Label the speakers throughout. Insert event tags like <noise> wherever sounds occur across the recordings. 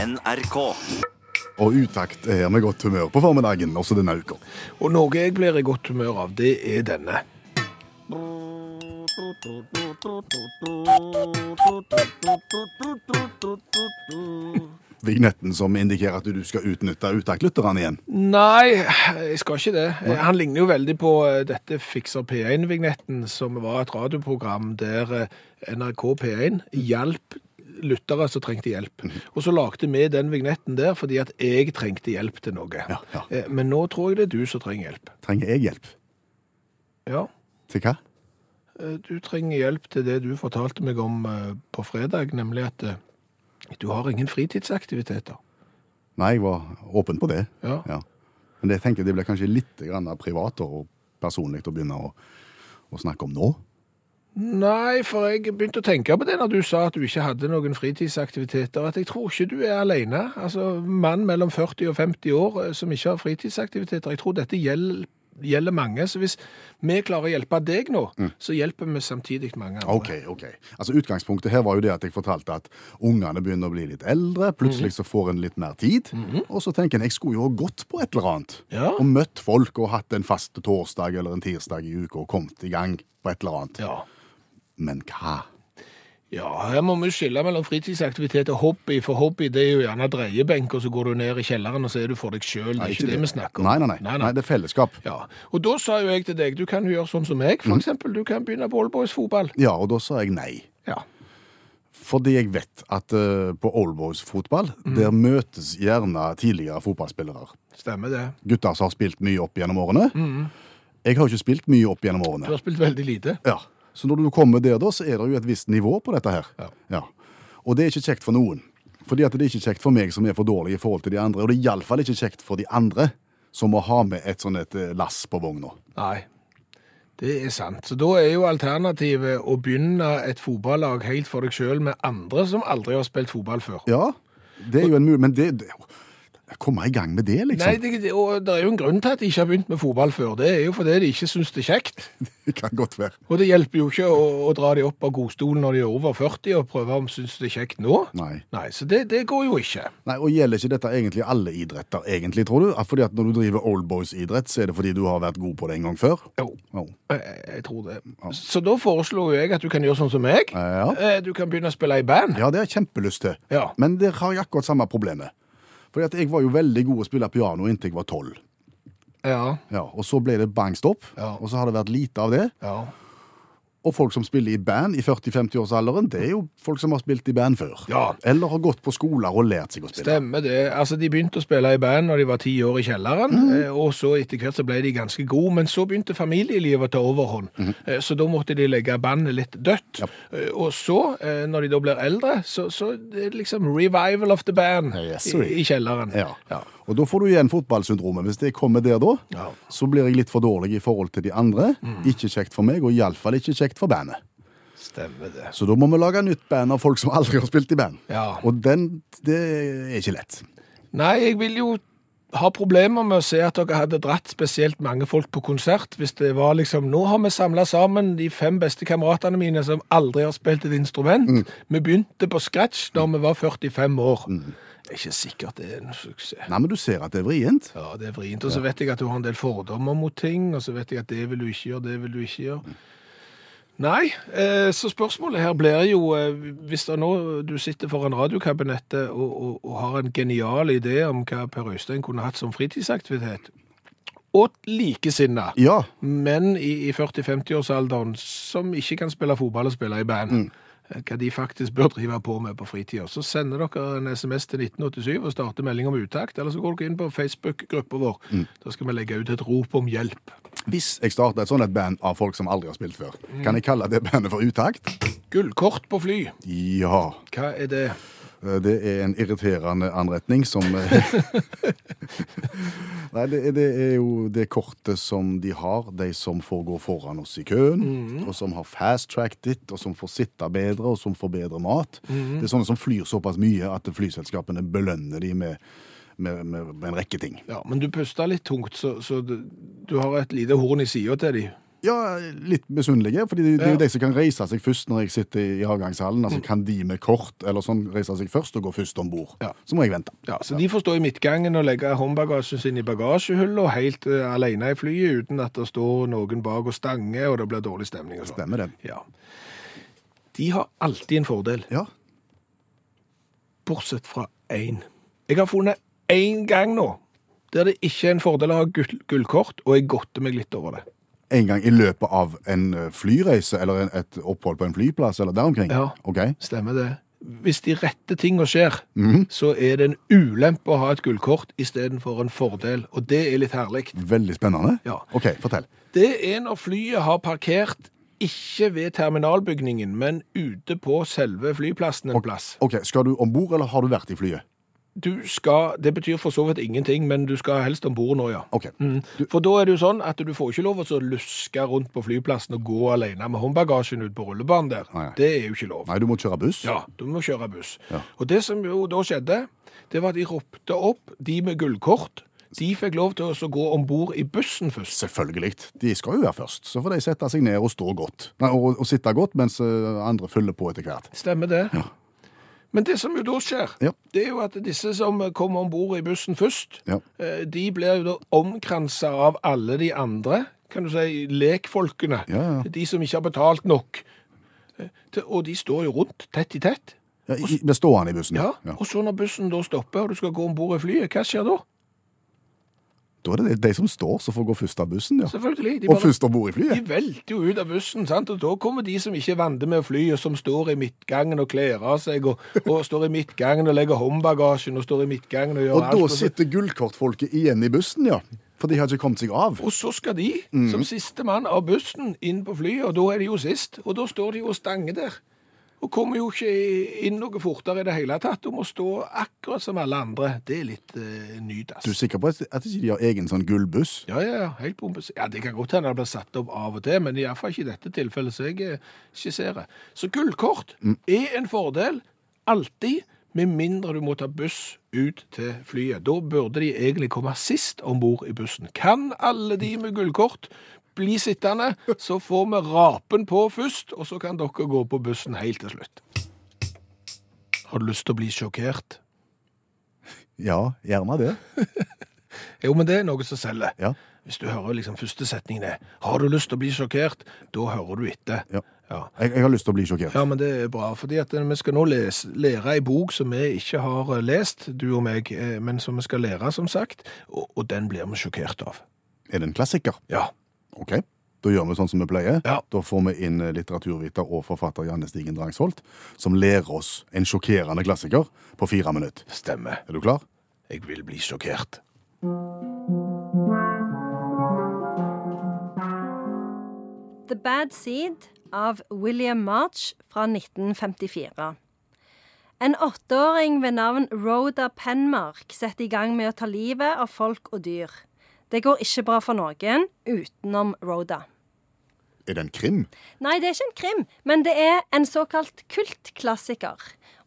Speaker 1: NRK.
Speaker 2: Og utakt er med godt humør på formiddagen også denne uka.
Speaker 3: Og noe jeg blir i godt humør av, det er denne.
Speaker 2: Vignetten som indikerer at du skal utnytte utakt-lytterne igjen.
Speaker 3: Nei, jeg skal ikke det. Eh, Han ligner jo veldig på eh, dette Fikser P1-vignetten, som var et radioprogram der eh, NRK P1 hjalp lyttere som trengte hjelp.
Speaker 2: Mhm.
Speaker 3: Og så lagde vi den vignetten der fordi at jeg trengte hjelp til noe.
Speaker 2: Ja, ja.
Speaker 3: Eh, Men nå tror jeg det er du som trenger hjelp.
Speaker 2: Trenger jeg hjelp?
Speaker 3: Ja,
Speaker 2: Til hva?
Speaker 3: eh, du trenger hjelp til det du fortalte meg om eh, på fredag, nemlig at eh, du har ingen fritidsaktiviteter.
Speaker 2: Nei, jeg var åpen på det.
Speaker 3: Ja.
Speaker 2: Ja. Men det, jeg tenker, det blir kanskje litt grann privat og personlig å begynne å, å snakke om nå.
Speaker 3: Nei, for jeg begynte å tenke på det når du sa at du ikke hadde noen fritidsaktiviteter. At jeg tror ikke du er alene. Altså, mann mellom 40 og 50 år eh, som ikke har fritidsaktiviteter. Jeg tror dette gjelder, gjelder mange. Så hvis vi klarer å hjelpe deg nå, så hjelper vi samtidig mange andre.
Speaker 2: Mm. Ok, ok. Altså Utgangspunktet her var jo det at jeg fortalte at ungene begynner å bli litt eldre. Plutselig
Speaker 3: Mhm.
Speaker 2: så får en litt mer tid. Og så tenker en jeg skulle jo ha gått på et eller annet.
Speaker 3: Ja.
Speaker 2: Og møtt folk og hatt en fast torsdag eller en tirsdag i uka og kommet i gang på et eller annet.
Speaker 3: Ja.
Speaker 2: Men hva?
Speaker 3: ja, her må vi skille mellom fritidsaktivitet og hobby. For hobby det er jo gjerne dreiebenk, og så går du ned i kjelleren og så er du for deg sjøl. Det
Speaker 2: Nei,
Speaker 3: er ikke det vi snakker om.
Speaker 2: Nei, nei, nei. nei, det er fellesskap.
Speaker 3: Ja, Og da sa jo jeg til deg du kan jo gjøre sånn som meg,
Speaker 2: Mm.
Speaker 3: for eksempel. Du kan begynne på Oldboys fotball.
Speaker 2: Ja, og da sa jeg nei.
Speaker 3: Ja.
Speaker 2: Fordi jeg vet at eh, på oldboys-fotball,
Speaker 3: Mm.
Speaker 2: der møtes gjerne tidligere fotballspillere.
Speaker 3: Stemmer det.
Speaker 2: Gutter som har spilt mye opp gjennom årene.
Speaker 3: Mm.
Speaker 2: Jeg har jo ikke spilt mye opp gjennom årene.
Speaker 3: Du har spilt veldig lite.
Speaker 2: Ja. Så når du kommer der, da, så er det jo et visst nivå på dette her.
Speaker 3: Ja.
Speaker 2: Og det er ikke kjekt for noen. Fordi at det er ikke kjekt for meg som er for dårlig i forhold til de andre. Og det er iallfall ikke kjekt for de andre som må ha med et sånn et eh, lass på vogna.
Speaker 3: Nei. Det er sant. Så da er jo alternativet å begynne et fotballag helt for deg sjøl med andre som aldri har spilt fotball før.
Speaker 2: Ja, det er jo en mulighet, men det, det Komme i gang med det, liksom.
Speaker 3: Nei, det, det- og det er jo en grunn til at de ikke har begynt med fotball før. Det er jo fordi de ikke syns det er kjekt.
Speaker 2: <laughs> Det kan godt være.
Speaker 3: Og det hjelper jo ikke å, å dra de opp av godstolen når de er over 40 og prøve om de syns det er kjekt nå.
Speaker 2: Nei.
Speaker 3: Nei, så det, det går jo ikke.
Speaker 2: Nei, og Gjelder ikke dette egentlig alle idretter, egentlig, tror du? Ah, Fordi at Når du driver oldboys-idrett, så er det fordi du har vært god på det en gang før?
Speaker 3: Jo.
Speaker 2: Oh.
Speaker 3: Jeg, jeg tror det. Så da foreslo jo jeg at du kan gjøre sånn som meg.
Speaker 2: Ja.
Speaker 3: Eh, Du kan begynne å spille i band.
Speaker 2: Ja, det har jeg kjempelyst til.
Speaker 3: Ja.
Speaker 2: Men der har jeg akkurat samme problemet. Fordi at jeg var jo veldig god å spille piano inntil jeg var tolv.
Speaker 3: Ja.
Speaker 2: Ja, og så ble det bangstopp,
Speaker 3: Ja.
Speaker 2: og så har det vært lite av det.
Speaker 3: ja.
Speaker 2: Og folk som spiller i band i 40-50-årsalderen, det er jo folk som har spilt i band før.
Speaker 3: Ja.
Speaker 2: Eller har gått på skoler og lært seg å spille.
Speaker 3: Stemmer det. Altså, De begynte å spille i band når de var ti år i kjelleren,
Speaker 2: Mhm.
Speaker 3: eh, og så etter hvert så ble de ganske gode. Men så begynte familielivet å ta overhånd, eh, så da måtte de legge bandet litt
Speaker 2: Mhm.
Speaker 3: dødt.
Speaker 2: Ja.
Speaker 3: Eh, Og så, eh, når de da blir eldre, så, så det er det liksom revival of the band
Speaker 2: Yes,
Speaker 3: i,
Speaker 2: sir.
Speaker 3: i kjelleren.
Speaker 2: Ja. Og da får du igjen fotballsyndromet. Hvis det kommer der da,
Speaker 3: Ja. Mm.
Speaker 2: så blir jeg litt for dårlig i forhold til de andre. Ikke kjekt for meg, og iallfall ikke kjekt for bandet.
Speaker 3: Stemmer det.
Speaker 2: Så da må vi lage nytt band av folk som aldri har spilt i band.
Speaker 3: Ja.
Speaker 2: Og den, det er ikke lett.
Speaker 3: Nei, jeg vil jo ha problemer med å se at dere hadde dratt spesielt mange folk på konsert, hvis det var liksom, nå har vi samlet sammen de fem beste kameratene mine som aldri har spilt et instrument. Vi begynte på scratch da vi var 45 år. Det er ikke sikkert det er en suksess.
Speaker 2: Nei, men du ser at det er vrient.
Speaker 3: Ja, det er vrient, og så vet jeg at du har en del fordommer mot ting, og så vet jeg at det vil du ikke gjøre, det vil du ikke gjøre. Nei, eh, så spørsmålet her blir jo, eh, hvis det nå du sitter foran radiokabinettet og, og, og har en genial idé om hva Per Øystein kunne hatt som fritidsaktivitet, og likesinna,
Speaker 2: Ja,
Speaker 3: men i, i 40-50-årsalderen som ikke kan spille fotball og spille i band, eh, hva de faktisk bør drive på med på fritida, så sender dere en SMS til 1987 og starter melding om utakt, eller så går dere inn på Facebook-gruppa vår. Da skal vi legge ut et rop om hjelp.
Speaker 2: hvis jeg starter et sånt et band av folk som aldri har spilt før,
Speaker 3: Mm.
Speaker 2: kan jeg kalle det bandet for utakt?
Speaker 3: Gullkort på fly,
Speaker 2: Ja.
Speaker 3: hva er det?
Speaker 2: Eh, Det er en irriterende anretning som <laughs> Nei, det, er- det er jo det kortet som de har, de som får gå foran oss i køen,
Speaker 3: Mhm.
Speaker 2: og som har fast track ditt, og som får sitte bedre, og som får bedre mat.
Speaker 3: Mhm.
Speaker 2: Det er sånne som flyr såpass mye at flyselskapene belønner de med, med, med, med en rekke ting.
Speaker 3: Ja, men du puster litt tungt, så, så du, du har et lite horn i sida til de.
Speaker 2: Ja, litt misunnelige, fordi det, det er jo de som kan reise seg først når jeg sitter i avgangshallen.
Speaker 3: Mm.
Speaker 2: Altså, Kan de med kort eller sånn reise seg først og gå først om bord?
Speaker 3: Ja.
Speaker 2: Så må jeg vente.
Speaker 3: Ja, så De får stå i midtgangen og legge håndbagasjen sin i bagasjehullet og helt eh, alene i flyet uten at det står noen bak og stanger, og det blir dårlig stemning. og sånn.
Speaker 2: Stemmer det.
Speaker 3: Ja. De har alltid en fordel,
Speaker 2: Ja.
Speaker 3: bortsett fra én. Jeg har funnet én gang nå der det ikke er en fordel å ha gull- gullkort, og jeg godter meg litt over det.
Speaker 2: En gang i løpet av en eh, flyreise eller en, et opphold på en flyplass eller der omkring?
Speaker 3: Ja.
Speaker 2: Ok.
Speaker 3: Stemmer det. Hvis de rette tingene skjer, så er det en ulempe å ha et gullkort istedenfor en fordel, og det er litt herlig.
Speaker 2: Veldig spennende.
Speaker 3: Ja.
Speaker 2: Ok, fortell.
Speaker 3: Det er når flyet har parkert ikke ved terminalbygningen, men ute på selve flyplassen en plass.
Speaker 2: Ok, Skal du om bord, eller har du vært i flyet?
Speaker 3: Du skal, det betyr for så vidt ingenting, men du skal helst ombord nå, ja.
Speaker 2: Ok.
Speaker 3: For da er det jo sånn at du får ikke lov å så luske rundt på flyplassen og gå alene med håndbagasjen ut på rullebanen der.
Speaker 2: Nei.
Speaker 3: Det er jo ikke lov.
Speaker 2: Nei, du må kjøre buss.
Speaker 3: Ja, du må kjøre buss.
Speaker 2: Ja.
Speaker 3: Og det som jo da skjedde, det var at de ropte opp de med gullkort. De fikk lov til å så gå ombord i bussen først.
Speaker 2: Selvfølgelig. De skal jo være først. Så får de sette seg ned og stå godt. Nei, og, og sitte godt, mens eh, andre følger på etter hvert.
Speaker 3: Stemmer det? Men det som jo da skjer,
Speaker 2: Ja.
Speaker 3: det er jo at disse som kommer om bord i bussen først,
Speaker 2: Ja.
Speaker 3: eh, de blir jo da omkransa av alle de andre, kan du si, lekfolkene.
Speaker 2: Ja, ja.
Speaker 3: De som ikke har betalt nok. Eh, til- Og de står jo rundt, tett i tett.
Speaker 2: Ja, i, blir stående i bussen.
Speaker 3: Ja.
Speaker 2: Ja.
Speaker 3: Og så når bussen da stopper, og du skal gå om bord i flyet, hva skjer da?
Speaker 2: Da er det de som står, som får gå først av bussen. ja.
Speaker 3: Selvfølgelig. De
Speaker 2: Og
Speaker 3: bare
Speaker 2: først om bord i
Speaker 3: De
Speaker 2: flyet.
Speaker 3: velter jo ut av bussen, sant? og da kommer de som ikke er vante med å fly, og som står i midtgangen og kler av seg, og, og står i midtgangen og legger håndbagasjen, og står i midtgangen og gjør
Speaker 2: Og
Speaker 3: alt.
Speaker 2: da
Speaker 3: og så-
Speaker 2: sitter gullkortfolket igjen i bussen, ja. For de har ikke kommet seg av.
Speaker 3: Og så skal de, som siste mann av bussen, inn på flyet, og da er de jo sist. Og da står de jo og stanger der. Og kommer jo ikke inn noe fortere i det hele tatt. Du må stå akkurat som alle andre. Det er litt eh, nyt,
Speaker 2: Du
Speaker 3: ass.
Speaker 2: er sikker på at at ikke de har egen sånn gullbuss?
Speaker 3: Ja, ja, ja, helt bombes. Ja, det kan godt hende det blir satt opp av og til, men iallfall ikke i dette tilfellet som jeg eh, skisserer. Så gullkort er en fordel alltid, med mindre du må ta buss ut til flyet. Da burde de egentlig komme sist om bord i bussen. Kan alle de med gullkort bli sittende, så får vi rapen på først, og så kan dere gå på bussen helt til slutt. Har du lyst til å bli sjokkert?
Speaker 2: Ja, gjerne det.
Speaker 3: Jo, men det er noe som selger.
Speaker 2: Ja.
Speaker 3: Hvis du hører liksom første setningen er 'Har du lyst til å bli sjokkert?' Da hører du etter.
Speaker 2: Ja.
Speaker 3: Ja.
Speaker 2: Jeg, jeg har lyst til å bli sjokkert.
Speaker 3: Ja, men det er bra, fordi at eh, vi skal nå lese, lære ei bok som vi ikke har eh, lest, du og meg, eh, men som vi skal lære, som sagt, og, og den blir vi sjokkert av.
Speaker 2: Er det en klassiker?
Speaker 3: Ja.
Speaker 2: Ok. Da gjør vi sånn som vi pleier.
Speaker 3: Ja.
Speaker 2: Da får vi inn litteraturviter og forfatter Janne Stigen Drangsholt, som lærer oss en sjokkerende klassiker på fire minutter.
Speaker 3: Stemmer.
Speaker 2: Er du klar?
Speaker 3: Jeg vil bli sjokkert.
Speaker 1: The Bad Seed av William March fra 1954. En åtteåring ved navn Rhoda Penmark setter i gang med å ta livet av folk og dyr. Det går ikke bra for noen utenom Rhoda.
Speaker 2: Er det en krim?
Speaker 1: Nei, det er ikke en krim, men det er en såkalt kultklassiker.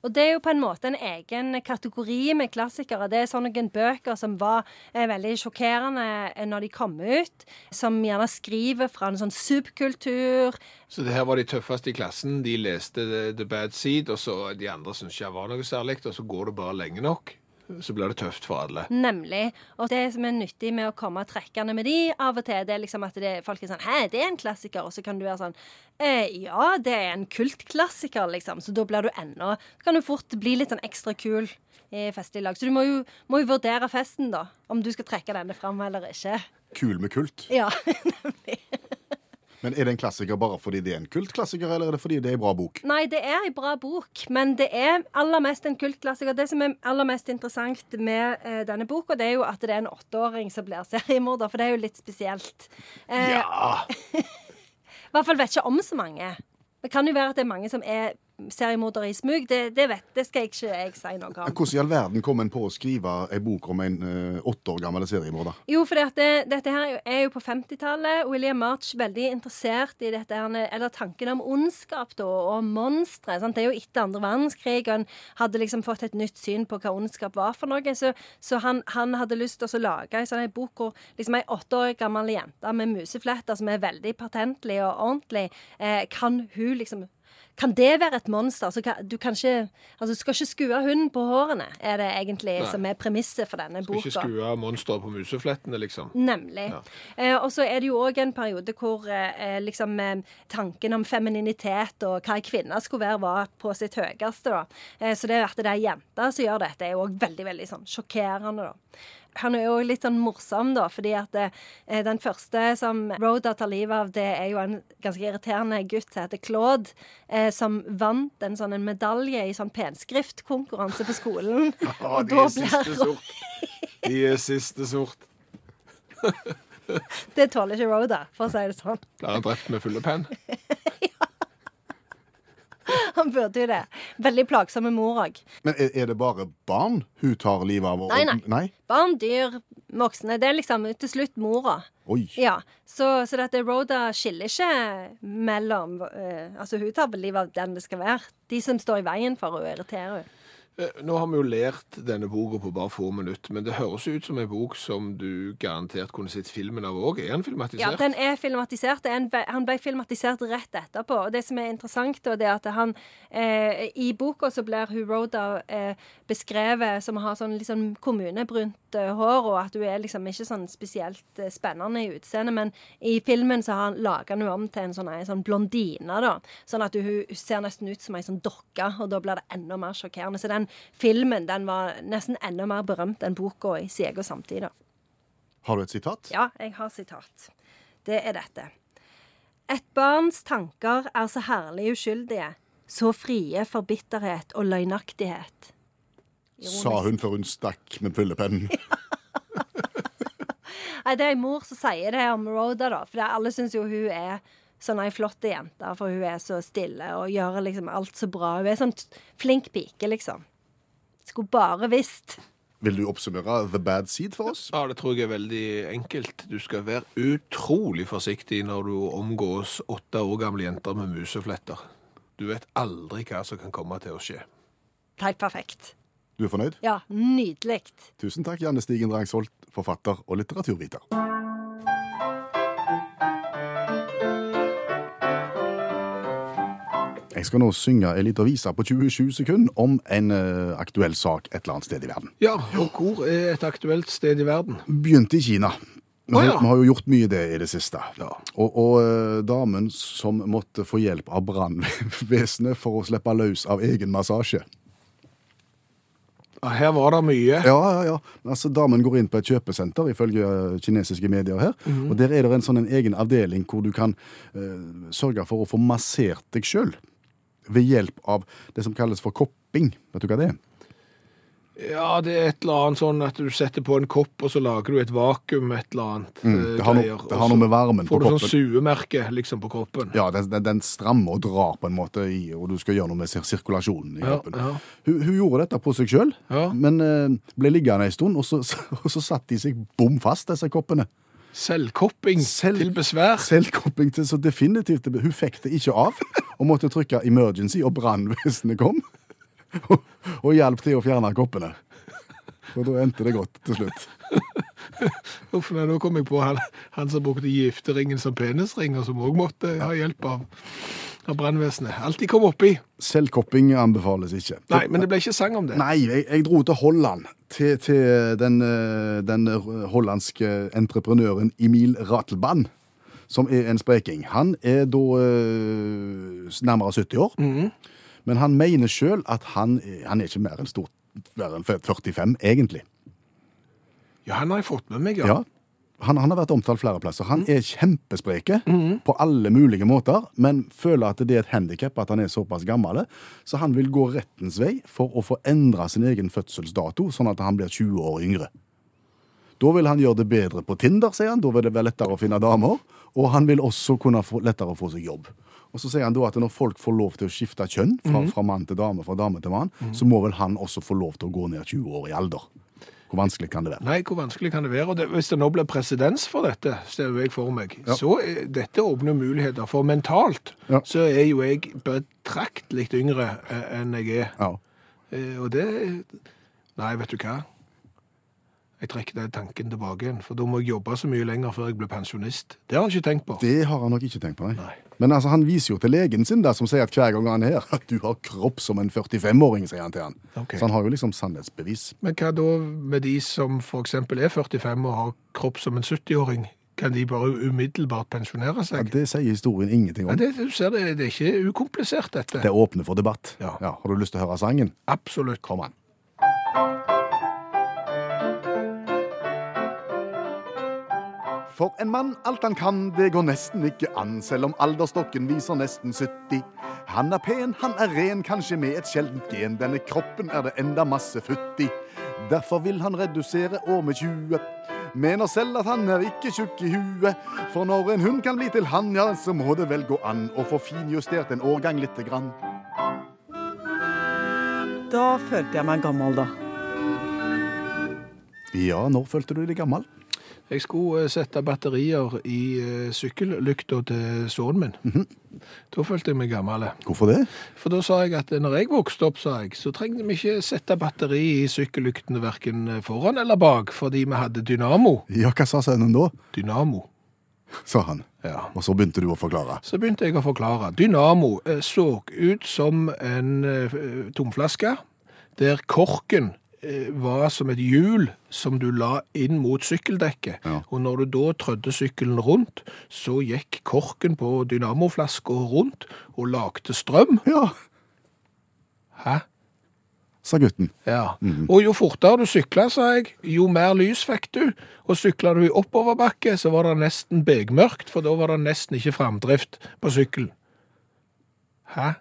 Speaker 1: Og det er jo på en måte en egen kategori med klassikere. Det er sånne noen bøker som var eh, veldig sjokkerende eh, når de kom ut, som gjerne skriver fra en sånn subkultur,
Speaker 3: Så det her var de tøffeste i klassen. De leste eh, The, The Bad Seed, og så de andre syntes ikke det var noe særlig, og så går det bare lenge nok, så blir det tøft for alle.
Speaker 1: Nemlig. Og det som er nyttig med å komme trekkende med de av og til, det er liksom at det, folk er sånn Hæ, det er en klassiker? Og så kan du være sånn eh, Ja, det er en kultklassiker, liksom. Så da blir du ennå Så kan du fort bli litt sånn ekstra kul i festlig lag. Så du må jo, må jo vurdere festen, da. Om du skal trekke denne fram eller ikke.
Speaker 2: Kul med kult.
Speaker 1: Ja. <laughs>
Speaker 2: Men er det en klassiker bare fordi det er en kultklassiker, eller er det fordi det er en bra bok?
Speaker 1: Nei, det er ei bra bok, men det er aller mest en kultklassiker. Det som er aller mest interessant med eh, denne boka, det er jo at det er en åtteåring som blir seriemorder, for det er jo litt spesielt. Eh,
Speaker 3: Ja!
Speaker 1: I hvert fall vet ikke om så mange. Det kan jo være at det er mange som er seriemorder i smug, det, det vet det skal jeg ikke jeg si noe om.
Speaker 2: Hvordan i all verden kom en på å skrive ei bok om en eh, åtte år gammel seriemorder?
Speaker 1: Jo, for det, dette her er jo- er jo på 50-tallet. William March veldig interessert i dette her, eller tanken om ondskap da, og monstre. Sant? Det er jo etter andre verdenskrig, og han hadde liksom fått et nytt syn på hva ondskap var for noe. Så, så han, han hadde lyst til å lage en sånn en bok hvor liksom ei åtte år gammel jente med musefletter som er veldig patentlig og ordentlig, eh, kan hun liksom kan det være et monster? Så kan, du, kan ikke, altså, du skal ikke skue hunden på hårene, er det egentlig
Speaker 3: Nei.
Speaker 1: som er premisset for denne boka.
Speaker 3: Ikke skru av monsteret på museflettene, liksom.
Speaker 1: Nemlig. Eh, og så er det jo òg en periode hvor eh, eh, liksom, eh, tanken om femininitet og hva ei kvinne skulle være, var på sitt høyeste. Da. Eh, så det at det er jenter som gjør dette, er jo òg veldig veldig sånn, sjokkerende. da. Han er jo også litt sånn morsom, da, fordi at eh, den første som Rhoda tar livet av, det er jo en ganske irriterende gutt som heter Claude, eh, som vant en sånn en medalje i sånn penskriftkonkurranse på skolen.
Speaker 2: Ah,
Speaker 3: Ja,
Speaker 1: og da blir Ro-
Speaker 3: sort. De er siste sort.
Speaker 1: <laughs> Det tåler ikke Rhoda, for å si det sånn.
Speaker 3: Blir han drept med fyllepenn?
Speaker 1: Han burde jo det. Veldig plagsomme mor òg.
Speaker 2: Men er, er det bare barn hun tar livet av? og-
Speaker 1: Nei, nei.
Speaker 2: nei?
Speaker 1: Barn, dyr, voksne. Det er liksom til slutt mora.
Speaker 2: Oi.
Speaker 1: Ja, Så, så dette Rhoda skiller ikke mellom eh, Altså, hun tar vel livet av den det skal være. De som står i veien for henne, irriterer henne.
Speaker 3: Eh, Nå har vi jo lært denne boka på bare få minutter, men det høres jo ut som en bok som du garantert kunne sett filmen av òg. Er den
Speaker 1: Ja,
Speaker 3: filmatisert?
Speaker 1: den er filmatisert. Det er en, ve- han ble filmatisert rett etterpå. Og det som er interessant, da, det er at han eh, I boka så blir hun Rhoda eh, beskrevet som å ha sånn liksom, kommunebrunt eh, hår, og at hun er liksom ikke sånn spesielt eh, spennende i utseendet. Men i filmen så har han laga henne om til en sånn, en sånn blondine, da. Sånn at hun, hun ser nesten ut som ei sånn dokke, og da blir det enda mer sjokkerende. Så den filmen den var nesten enda mer berømt enn boka i sin egen samtid, da.
Speaker 2: Har du et sitat?
Speaker 1: Ja, jeg har sitat. Det er dette. Et barns tanker er så herlig uskyldige, så frie for bitterhet og løgnaktighet. Ironisk.
Speaker 2: Sa hun før hun stakk med fyllepennen.
Speaker 1: <laughs> Nei, det er ei mor som sier det om Rhoda, da. For det, alle syns jo hun er sånn ei flott jente, for hun er så stille og gjør liksom alt så bra. Hun er sånn t- flink pike, liksom. Skulle bare visst.
Speaker 2: Vil du oppsummere The Bad Seed for oss?
Speaker 3: Ja, det tror jeg er veldig enkelt. Du skal være utrolig forsiktig når du omgås åtte år gamle jenter med musefletter. Du vet aldri hva som kan komme til å skje.
Speaker 1: Helt perfekt.
Speaker 2: Du er fornøyd?
Speaker 1: Ja, nydelig.
Speaker 2: Tusen takk, Janne Stigen Drangsholt, forfatter og litteraturviter. Jeg skal nå synge en liten vise på 27 sekunder om en eh, aktuell sak et eller annet sted i verden.
Speaker 3: Ja, og hvor er et aktuelt sted i verden?
Speaker 2: Begynte i Kina. Vi
Speaker 3: Å,
Speaker 2: har,
Speaker 3: ja.
Speaker 2: vi har jo gjort mye det i det siste. Og, og eh, damen som måtte få hjelp av brannvesenet for å slippe løs av egen massasje.
Speaker 3: Ja, Her var det mye.
Speaker 2: Ja, ja, ja. Altså, damen går inn på et kjøpesenter, ifølge eh, kinesiske medier her.
Speaker 3: Mhm.
Speaker 2: Og der er det en sånn en egen avdeling hvor du kan eh, sørge for å få massert deg sjøl. Ved hjelp av det som kalles for kopping. Vet du hva det er?
Speaker 3: Ja, det er et eller annet sånn at du setter på en kopp, og så lager du et vakuum, et eller annet. eh,
Speaker 2: Mm, det har noe-
Speaker 3: greier,
Speaker 2: det har
Speaker 3: og
Speaker 2: noe
Speaker 3: så
Speaker 2: med varmen på
Speaker 3: Får du
Speaker 2: kroppen.
Speaker 3: sånn suemerke, liksom, på kroppen.
Speaker 2: Ja, den, den, den strammer og drar på en måte i, og du skal gjøre noe med sir- sirkulasjonen i
Speaker 3: Ja,
Speaker 2: kroppen.
Speaker 3: ja.
Speaker 2: Hun, hun gjorde dette på seg sjøl,
Speaker 3: Ja.
Speaker 2: men eh, ble liggende ei stund, og så, og så satt de seg bom fast, disse koppene.
Speaker 3: Selvkopping
Speaker 2: Selv-
Speaker 3: til besvær.
Speaker 2: Selvkopping til så definitivt Hun fikk det ikke av, og måtte trykke 'emergency', og brannvesenet kom. Og, og hjalp til å fjerne koppene. Og da endte det godt til slutt.
Speaker 3: Uff, nei, nå kom jeg på han, han som brukte gifteringen som penisring, og som òg måtte ha hjelp av, av brannvesenet. Alt de kom oppi.
Speaker 2: Selvkopping anbefales ikke.
Speaker 3: Nei, men det ble ikke sang om det.
Speaker 2: Nei, jeg, jeg dro til Holland. Til, til den, eh, den eh, hollandske entreprenøren Emil Ratelband, som er en spreking. Han er da eh, nærmere 70 år, men han mener sjøl at han, er- han er ikke mer enn stort mer enn 45, egentlig.
Speaker 3: Ja, han har jeg fått med meg,
Speaker 2: Ja. Mm.
Speaker 3: ja.
Speaker 2: Han, han har vært omtalt flere plasser. Han er kjempespreke på alle mulige måter, men føler at det er et handikap at han er såpass gammel, så han vil gå rettens vei for å få endra sin egen fødselsdato, sånn at han blir 20 år yngre. Da vil han gjøre det bedre på Tinder, sier han. Da vil det være lettere å finne damer. Og han vil også kunne få lettere å få seg jobb. Og så sier han da at når folk får lov til å skifte kjønn, fra, fra mann til dame, fra dame til mann, så må vel han også få lov til å gå ned 20 år i alder. Hvor vanskelig kan det være?
Speaker 3: Nei, hvor vanskelig kan det være? Og det, hvis det nå blir presedens for dette, ser jo jeg for meg, så er, dette åpner muligheter. For mentalt
Speaker 2: Ja.
Speaker 3: så er jo jeg betraktelig yngre eh, enn jeg er.
Speaker 2: Ja.
Speaker 3: Eh, Og det Nei, vet du hva? Jeg trekker den tanken tilbake igjen, for da må jeg jobbe så mye lenger før jeg blir pensjonist. Det har han ikke tenkt på.
Speaker 2: Det har han nok ikke tenkt på, nei.
Speaker 3: Nei.
Speaker 2: Men altså, han viser jo til legen sin, da, som sier at hver gang han er her, at du har kropp som en 45-åring, sier han til han.
Speaker 3: Ok.
Speaker 2: Så han har jo liksom sannhetsbevis.
Speaker 3: Men hva da med de som f.eks. er 45 og har kropp som en 70-åring? Kan de bare umiddelbart pensjonere
Speaker 2: Ja,
Speaker 3: seg?
Speaker 2: det sier historien ingenting
Speaker 3: Ja,
Speaker 2: om.
Speaker 3: det, du ser det, det er ikke ukomplisert, dette.
Speaker 2: Det åpner for debatt.
Speaker 3: Ja.
Speaker 2: har du lyst til å høre sangen?
Speaker 3: Absolutt.
Speaker 2: Kom an. For en mann, alt han kan, det går nesten ikke an, selv om alderstokken viser nesten 70. Han er pen, han er ren, kanskje med et sjeldent gen, denne kroppen er det enda masse futt i. Derfor vil han redusere år med 20. Mener selv at han er ikke tjukk i huet, for når en hund kan bli til han, ja, så må det vel gå an å få finjustert en årgang lite grann.
Speaker 4: Da følte jeg meg gammel, da.
Speaker 2: Ja, når følte du deg gammel?
Speaker 3: Jeg skulle eh, sette batterier i eh, sykkellykta til sønnen min.
Speaker 2: Mhm.
Speaker 3: Da følte jeg meg gammel.
Speaker 2: Hvorfor det?
Speaker 3: For da sa jeg at eh, når jeg vokste opp, sa jeg, så trengte vi ikke sette batteri i sykkellyktene verken foran eller bak, fordi vi hadde dynamo.
Speaker 2: Ja, hva sa sønnen da?
Speaker 3: Dynamo.
Speaker 2: sa han.
Speaker 3: Ja.
Speaker 2: Og så begynte du å forklare.
Speaker 3: Så begynte jeg å forklare. Dynamo eh, så ut som en eh, tomflaske, der korken eh, var som et hjul som du la inn mot sykkeldekket.
Speaker 2: Ja.
Speaker 3: Og når du da trødde sykkelen rundt, så gikk korken på dynamoflaska rundt og lagde strøm.
Speaker 2: Ja,
Speaker 3: Hæ?
Speaker 2: sa gutten.
Speaker 3: Ja. Og jo fortere du sykla, sa jeg, jo mer lys fikk du. Og sykla du i oppoverbakke, så var det nesten begmørkt, for da var det nesten ikke framdrift på sykkelen. Hæ?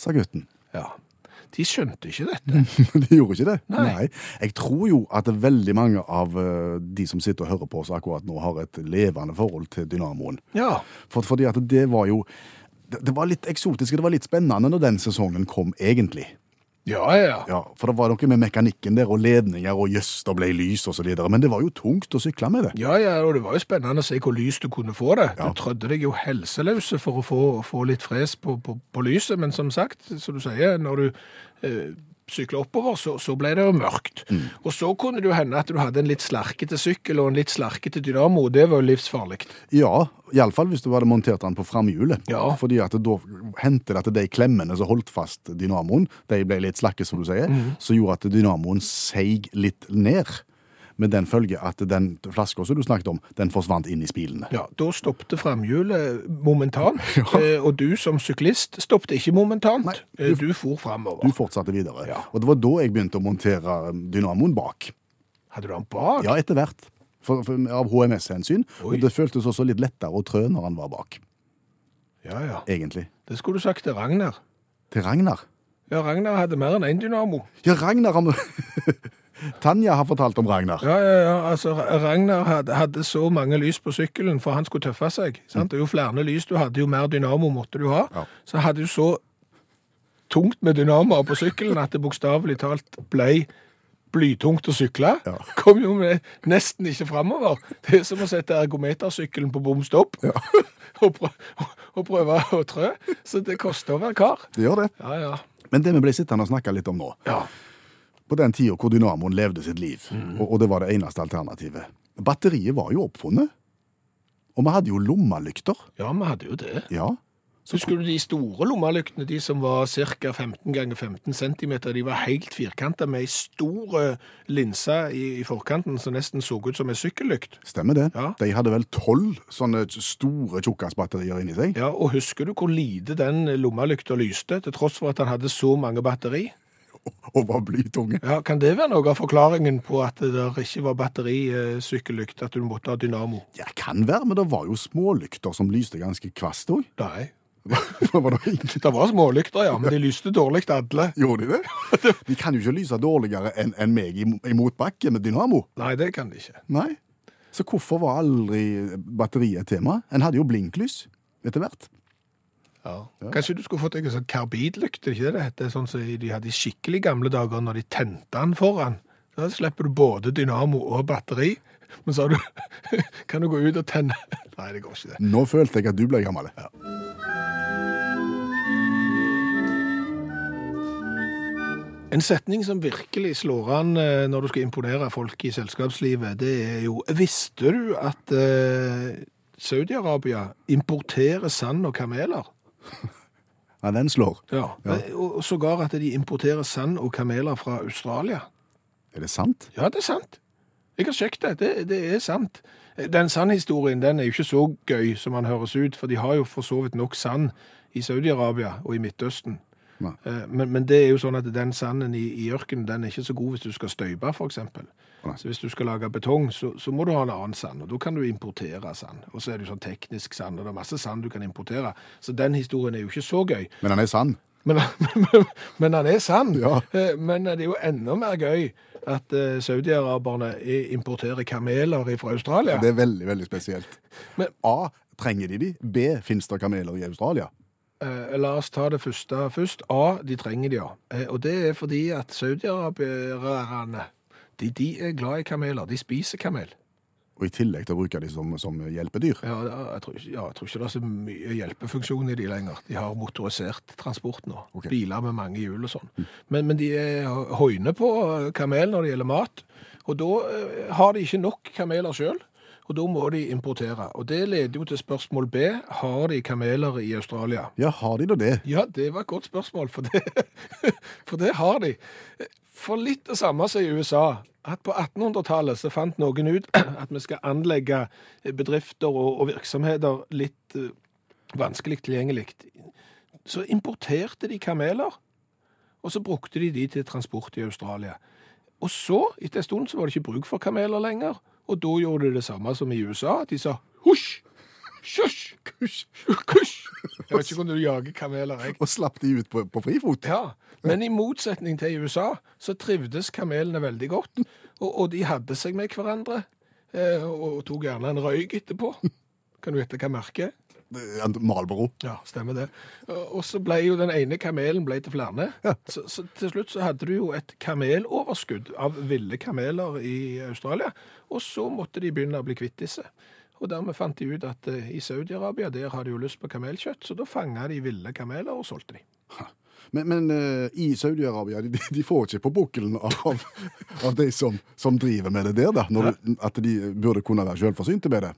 Speaker 2: Sa gutten. <laughs>
Speaker 3: Ja. De skjønte ikke dette.
Speaker 2: De gjorde ikke det.
Speaker 3: Nei.
Speaker 2: Jeg tror jo at veldig mange av eh, de som sitter og hører på oss akkurat nå, har et levende forhold til dynamoen.
Speaker 3: Ja.
Speaker 2: For, fordi at det var jo det, det var litt eksotisk, og det var litt spennende når den sesongen kom, egentlig.
Speaker 3: Ja, ja.
Speaker 2: Ja, For det var noe med mekanikken der, og ledninger, og jøss, det ble lys, og så videre. Men det var jo tungt å sykle med det.
Speaker 3: Ja, ja, og det var jo spennende å se hvor lys du kunne få det.
Speaker 2: Ja.
Speaker 3: Du trødde deg jo helseløse for å få, få litt fres på, på, på lyset, men som sagt, som du sier, når du eh, sykler oppover, så, så ble det jo mørkt.
Speaker 2: Mm.
Speaker 3: Og så kunne det jo hende at du hadde en litt slarkete sykkel og en litt slarkete dynamo, og det var jo livsfarlig.
Speaker 2: Ja, iallfall hvis du hadde montert den på framhjulet.
Speaker 3: Ja.
Speaker 2: Fordi at da hendte det at de klemmene som holdt fast dynamoen, de ble litt slakke, som du sier,
Speaker 3: Mhm.
Speaker 2: så gjorde at dynamoen seig litt ned. Med den følge at den flaska som du snakket om, den forsvant inn i spilene.
Speaker 3: Ja, da stoppte framhjulet
Speaker 2: <laughs>
Speaker 3: momentant, eh, og du som syklist stoppte ikke momentant.
Speaker 2: Nei,
Speaker 3: Eh, du for framover.
Speaker 2: Du fortsatte videre.
Speaker 3: Ja.
Speaker 2: Og det var da jeg begynte å montere um, dynamoen bak.
Speaker 3: Hadde du den bak?
Speaker 2: Ja, etter hvert. For, for, av HMS-hensyn.
Speaker 3: Oi.
Speaker 2: Og det føltes også litt lettere å trø når han var bak,
Speaker 3: ja, ja.
Speaker 2: egentlig.
Speaker 3: Det skulle du sagt til Ragnar.
Speaker 2: Til Ragnar.
Speaker 3: Ja, Ragnar hadde mer enn én dynamo.
Speaker 2: Ja, Ragnar har <laughs> Tanja har fortalt om Ragnar.
Speaker 3: Ja, ja, ja. Altså, Ragnar hadde, hadde så mange lys på sykkelen, for han skulle tøffe seg. Sant? Og jo flere lys du hadde, jo mer dynamo måtte du ha.
Speaker 2: Ja.
Speaker 3: Så hadde du så tungt med dynamoer på sykkelen at det bokstavelig talt ble blytungt å sykle.
Speaker 2: Ja.
Speaker 3: Kom jo med nesten ikke framover. Det er som å sette ergometersykkelen på bom stopp <laughs> og, prø og prøve å trø. Så det koster å være kar.
Speaker 2: Det gjør det.
Speaker 3: Ja, ja.
Speaker 2: Men det vi ble sittende og snakke litt om nå,
Speaker 3: ja.
Speaker 2: på den tida hvor dynamoen levde sitt liv, og, og det var det eneste alternativet Batteriet var jo oppfunnet. Og vi hadde jo lommelykter.
Speaker 3: Ja, vi hadde jo det.
Speaker 2: Ja.
Speaker 3: Husker du de store lommelyktene, de som var ca. 15 ganger 15 cm? De var helt firkanta med ei stor eh, linse i, i forkanten som nesten så ut som ei sykkellykt.
Speaker 2: Stemmer det.
Speaker 3: Ja.
Speaker 2: De hadde vel tolv sånne store tjukkasbatterier inni seg.
Speaker 3: Ja, Og husker du hvor lite den lommelykta lyste, til tross for at han hadde så mange batteri?
Speaker 2: Og var blytunge.
Speaker 3: Ja, Kan det være noe av forklaringen på at det der ikke var eh, batterisykkellykt, at du måtte ha dynamo?
Speaker 2: <laughs> Ja, kan være, men det var jo smålykter som lyste ganske kvast òg.
Speaker 3: Nei.
Speaker 2: Var det ingen-
Speaker 3: Det var smålykter, ja, men de lyste dårlig alle.
Speaker 2: Gjorde de det? De kan jo ikke lyse dårligere enn enn meg i, i motbakke med dynamo.
Speaker 3: Nei, det kan de ikke.
Speaker 2: Nei. Så hvorfor var aldri batteriet et tema? En hadde jo blinklys etter hvert.
Speaker 3: Kanskje du skulle fått deg en sånn karbidlykt, er ikke det det heter? Sånn som de hadde i skikkelig gamle dager når de tente den foran. Da slipper du både dynamo og batteri. Men så har du <laughs> Kan du gå ut og tenne <laughs> Nei, det går ikke, det.
Speaker 2: Nå følte jeg at du ble gammel.
Speaker 3: En setning som virkelig slår an eh, når du skal imponere folk i selskapslivet, det er jo Visste du at eh, Saudi-Arabia importerer sand og kameler?
Speaker 2: Ja, den slår.
Speaker 3: Ja. Og og sågar at de importerer sand og kameler fra Australia.
Speaker 2: Er det sant?
Speaker 3: Ja, det er sant. Jeg har sjekket det. det. Det er sant. Den sandhistorien den er jo ikke så gøy som den høres ut, for de har jo for så vidt nok sand i Saudi-Arabia og i Midtøsten.
Speaker 2: Nei.
Speaker 3: Eh, Men, men det er jo sånn at den sanden i, i ørkenen den er ikke så god hvis du skal støype, f.eks.
Speaker 2: Nei.
Speaker 3: Så hvis du skal lage betong, så, så må du ha en annen sand, og da kan du importere sand. Og så er det jo sånn teknisk sand, og det er masse sand du kan importere. Så den historien er jo ikke så gøy.
Speaker 2: Men den er sann.
Speaker 3: Men, <laughs> men, men han er sann.
Speaker 2: Ja.
Speaker 3: Eh, Men det er jo enda mer gøy at eh, saudi-araberne i- importerer kameler fra Australia.
Speaker 2: Det er veldig, veldig spesielt.
Speaker 3: Men-
Speaker 2: A. Trenger de de? B. Fins det kameler i Australia?
Speaker 3: Eh, La oss ta det første først. A, de trenger det, ja. Eh, Og det er fordi at saudi-araberne de, de er glad i kameler. De spiser kamel.
Speaker 2: Og i tillegg til å bruke de som, som hjelpedyr?
Speaker 3: Ja, det- jeg tror, ikke- ja, jeg tror ikke det er så mye hjelpefunksjon i de lenger. De har motorisert transport nå.
Speaker 2: Ok.
Speaker 3: Biler med mange hjul og sånn. Men, men de er høyne på eh, kamel når det gjelder mat. Og da eh, har de ikke nok kameler sjøl, og da må de importere. Og det leder jo til spørsmål B. Har de kameler i Australia?
Speaker 2: Ja, har de da det?
Speaker 3: Ja, det var et godt spørsmål, for det, <laughs> for det har de. For litt det samme som i USA, at på 1800-tallet så fant noen ut <clears throat> at vi skal anlegge bedrifter og, og virksomheter litt eh, vanskelig tilgjengelig. Så importerte de kameler, og så brukte de de til transport i Australia. Og så, etter en stund, så var det ikke bruk for kameler lenger, og da gjorde de det samme som i USA, at de sa husj, husj, kusj, kusj. Jeg vet ikke om du jager kameler, jeg.
Speaker 2: Og slapp de ut på, på frifot?
Speaker 3: Ja, men i motsetning til i USA, så trivdes kamelene veldig godt. Og, og de hadde seg med hverandre, eh, og, og tok gjerne en røyk etterpå. Kan du gjette hva merket er?
Speaker 2: Eh, Malboro.
Speaker 3: Ja, stemmer det. Eh, Og og så ble jo den ene kamelen ble til flere. Så, så til slutt så hadde du jo et kameloverskudd av ville kameler i Australia. Og så måtte de begynne å bli kvitt disse. Og dermed fant de ut at eh, i Saudi-Arabia der har de jo lyst på kamelkjøtt, så da fanga de ville kameler og solgte de.
Speaker 2: Men, men eh, i Saudi-Arabia de, de får ikke på bukkelen av, av de som, som driver med det der, da, når du, at de burde kunne være selvforsynte med det.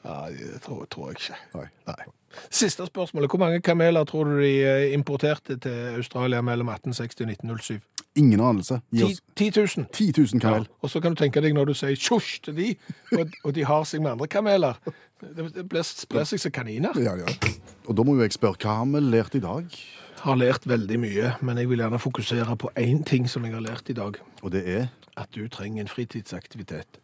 Speaker 3: Ja, det tror, tror jeg ikke.
Speaker 2: Nei.
Speaker 3: Siste spørsmålet. Hvor mange kameler tror du de eh, importerte til Australia mellom 1860 og 1907?
Speaker 2: Ingen anelse. Gi
Speaker 3: 10
Speaker 2: oss
Speaker 3: 000.
Speaker 2: 10 000 kamel.
Speaker 3: Ja, Og så kan du tenke deg når du sier tjosj til de, og, og de har seg med andre kameler. Det, det blir sprer seg som kaniner.
Speaker 2: Ja, ja. Og da må jo jeg spørre, hva har vi lært i dag?
Speaker 3: Har lært veldig mye, men jeg vil gjerne fokusere på én ting som jeg har lært i dag.
Speaker 2: Og det er
Speaker 3: At du trenger en fritidsaktivitet.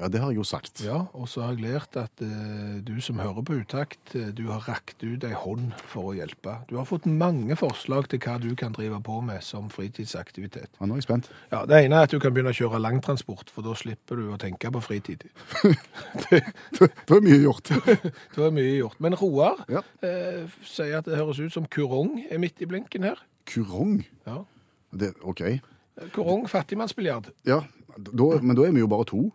Speaker 2: Ja, det har jeg jo sagt.
Speaker 3: Ja, Og så har jeg lært at eh, du som hører på Utakt, eh, du har rakt ut ei hånd for å hjelpe. Du har fått mange forslag til hva du kan drive på med som fritidsaktivitet.
Speaker 2: Ja, nå er jeg spent. <laughs>
Speaker 3: Ja, Det ene er at du kan begynne å kjøre langtransport, for da slipper du å tenke på <laughs> fritid.
Speaker 2: Det det er mye gjort. <laughs>
Speaker 3: <laughs> Det var mye gjort. Men Roar
Speaker 2: Ja.
Speaker 3: eh, sier at det høres ut som kurong er midt i blinken her.
Speaker 2: Kurong.
Speaker 3: Ja.
Speaker 2: Det, OK.
Speaker 3: Kurong, fattigmannsbiljard.
Speaker 2: Ja, da, men da er vi jo bare to.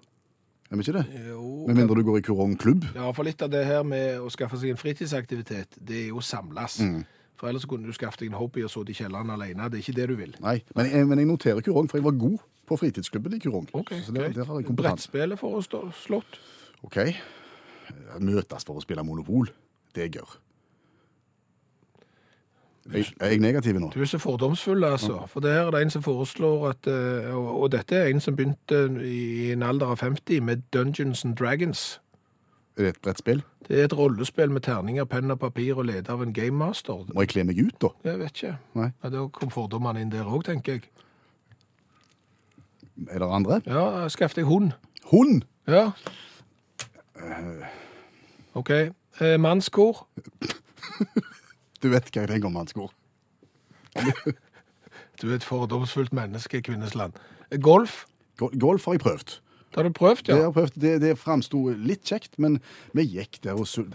Speaker 2: Er vi ikke det?
Speaker 3: Jo.
Speaker 2: Med mindre du går i kurongklubb.
Speaker 3: Ja, for litt av det her med å skaffe seg en fritidsaktivitet, det er jo å samles.
Speaker 2: Mm.
Speaker 3: For ellers kunne du skaffe deg en hobby og sittet i kjelleren alene. Det er ikke det du vil.
Speaker 2: Nei, men jeg, men jeg noterer kurong, for jeg var god på fritidsklubben i kurong. så det,
Speaker 3: greit.
Speaker 2: der har jeg kompetanse.
Speaker 3: Brettspillet for å stå slått.
Speaker 2: OK. Møtes for å spille Monopol. Det er gørr. Jeg, er jeg negativ nå?
Speaker 3: Du er så fordomsfull, altså. For det her er det en som foreslår at eh, Og og dette er en som begynte i en alder av 50 med Dungeons and Dragons.
Speaker 2: Er det et brettspill?
Speaker 3: Det er et rollespill med terninger, penn og papir og leder av en gamemaster.
Speaker 2: Må jeg kle meg ut, da?
Speaker 3: Jeg vet ikke.
Speaker 2: Nei.
Speaker 3: Ja, da kom fordommene inn der òg, tenker jeg.
Speaker 2: Er det andre?
Speaker 3: Ja, skaff deg hund.
Speaker 2: Hund!
Speaker 3: Ja. OK. Eh, mannskor.
Speaker 2: Du vet hva jeg tenker om hans ord.
Speaker 3: Du er et fordomsfullt menneske, Kvinnesland. Eh, Golf,
Speaker 2: Go- Golf har jeg prøvd.
Speaker 3: det har du prøvd,
Speaker 2: Det,
Speaker 3: ja?
Speaker 2: har jeg prøvd. det, det framsto litt kjekt, men vi gikk der og sult.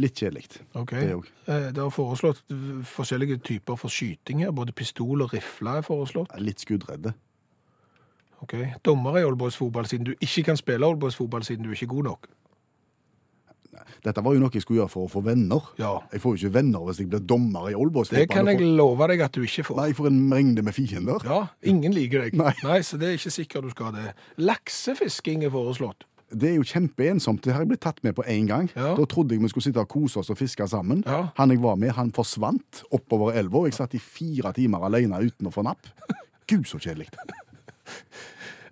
Speaker 2: Litt kjedelig.
Speaker 3: Ok.
Speaker 2: Det òg.
Speaker 3: Eh, Det er foreslått eh, forskjellige typer for skyting her. Både pistol og rifler er foreslått.
Speaker 2: Litt skuddredde.
Speaker 3: Ok. Dommer i oldboysfotball siden du ikke kan spille oldboysfotball siden du ikke er god nok.
Speaker 2: Dette var jo noe jeg skulle gjøre for å få venner.
Speaker 3: Ja.
Speaker 2: Jeg får jo ikke venner hvis jeg blir dommer i Aalborg.
Speaker 3: Det kan jeg
Speaker 2: får...
Speaker 3: love deg at du ikke får.
Speaker 2: Nei, jeg får en mengde med fiender.
Speaker 3: Ja, ingen liker deg.
Speaker 2: Nei.
Speaker 3: så det er ikke sikkert du skal ha det. Laksefisking er foreslått.
Speaker 2: Det er jo kjempeensomt. Det har jeg blitt tatt med på én gang.
Speaker 3: Ja.
Speaker 2: Da trodde jeg vi skulle sitte og kose oss og fiske sammen.
Speaker 3: Ja.
Speaker 2: Han jeg var med, han forsvant oppover elva. og Jeg satt i fire timer alene uten å få napp. Gud, så kjedelig.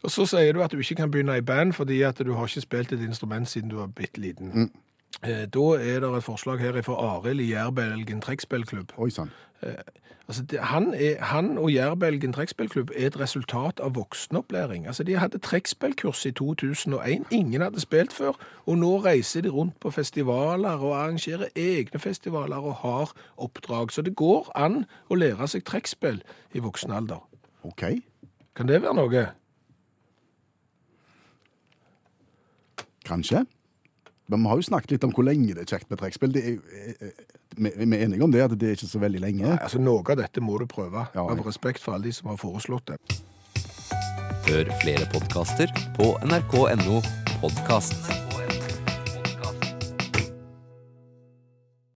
Speaker 3: Og så sier du at du ikke kan begynne i band fordi at du har ikke spilt et instrument siden du var bitte liten. Eh, Da er det et forslag her fra Arild i Jærbelgen trekkspillklubb.
Speaker 2: Oi sånn. sann.
Speaker 3: Altså, det, han, er, han og Jærbelgen trekkspillklubb er et resultat av voksenopplæring. Altså, de hadde trekkspillkurs i 2001. Ingen hadde spilt før, og nå reiser de rundt på festivaler og arrangerer egne festivaler og har oppdrag. Så det går an å lære seg trekkspill i voksen alder.
Speaker 2: OK.
Speaker 3: Kan det være noe?
Speaker 2: Kanskje. Men vi har jo snakket litt om hvor lenge det er kjekt med trekkspill. Det er jo- eh, eh, Vi vi er enige om det, at det er ikke så veldig lenge.
Speaker 3: Nei, altså, Noe av dette må du prøve,
Speaker 2: Ja,
Speaker 3: av
Speaker 2: jeg-
Speaker 3: respekt for alle de som har foreslått det.
Speaker 5: Hør flere podkaster på nrk.no podkast.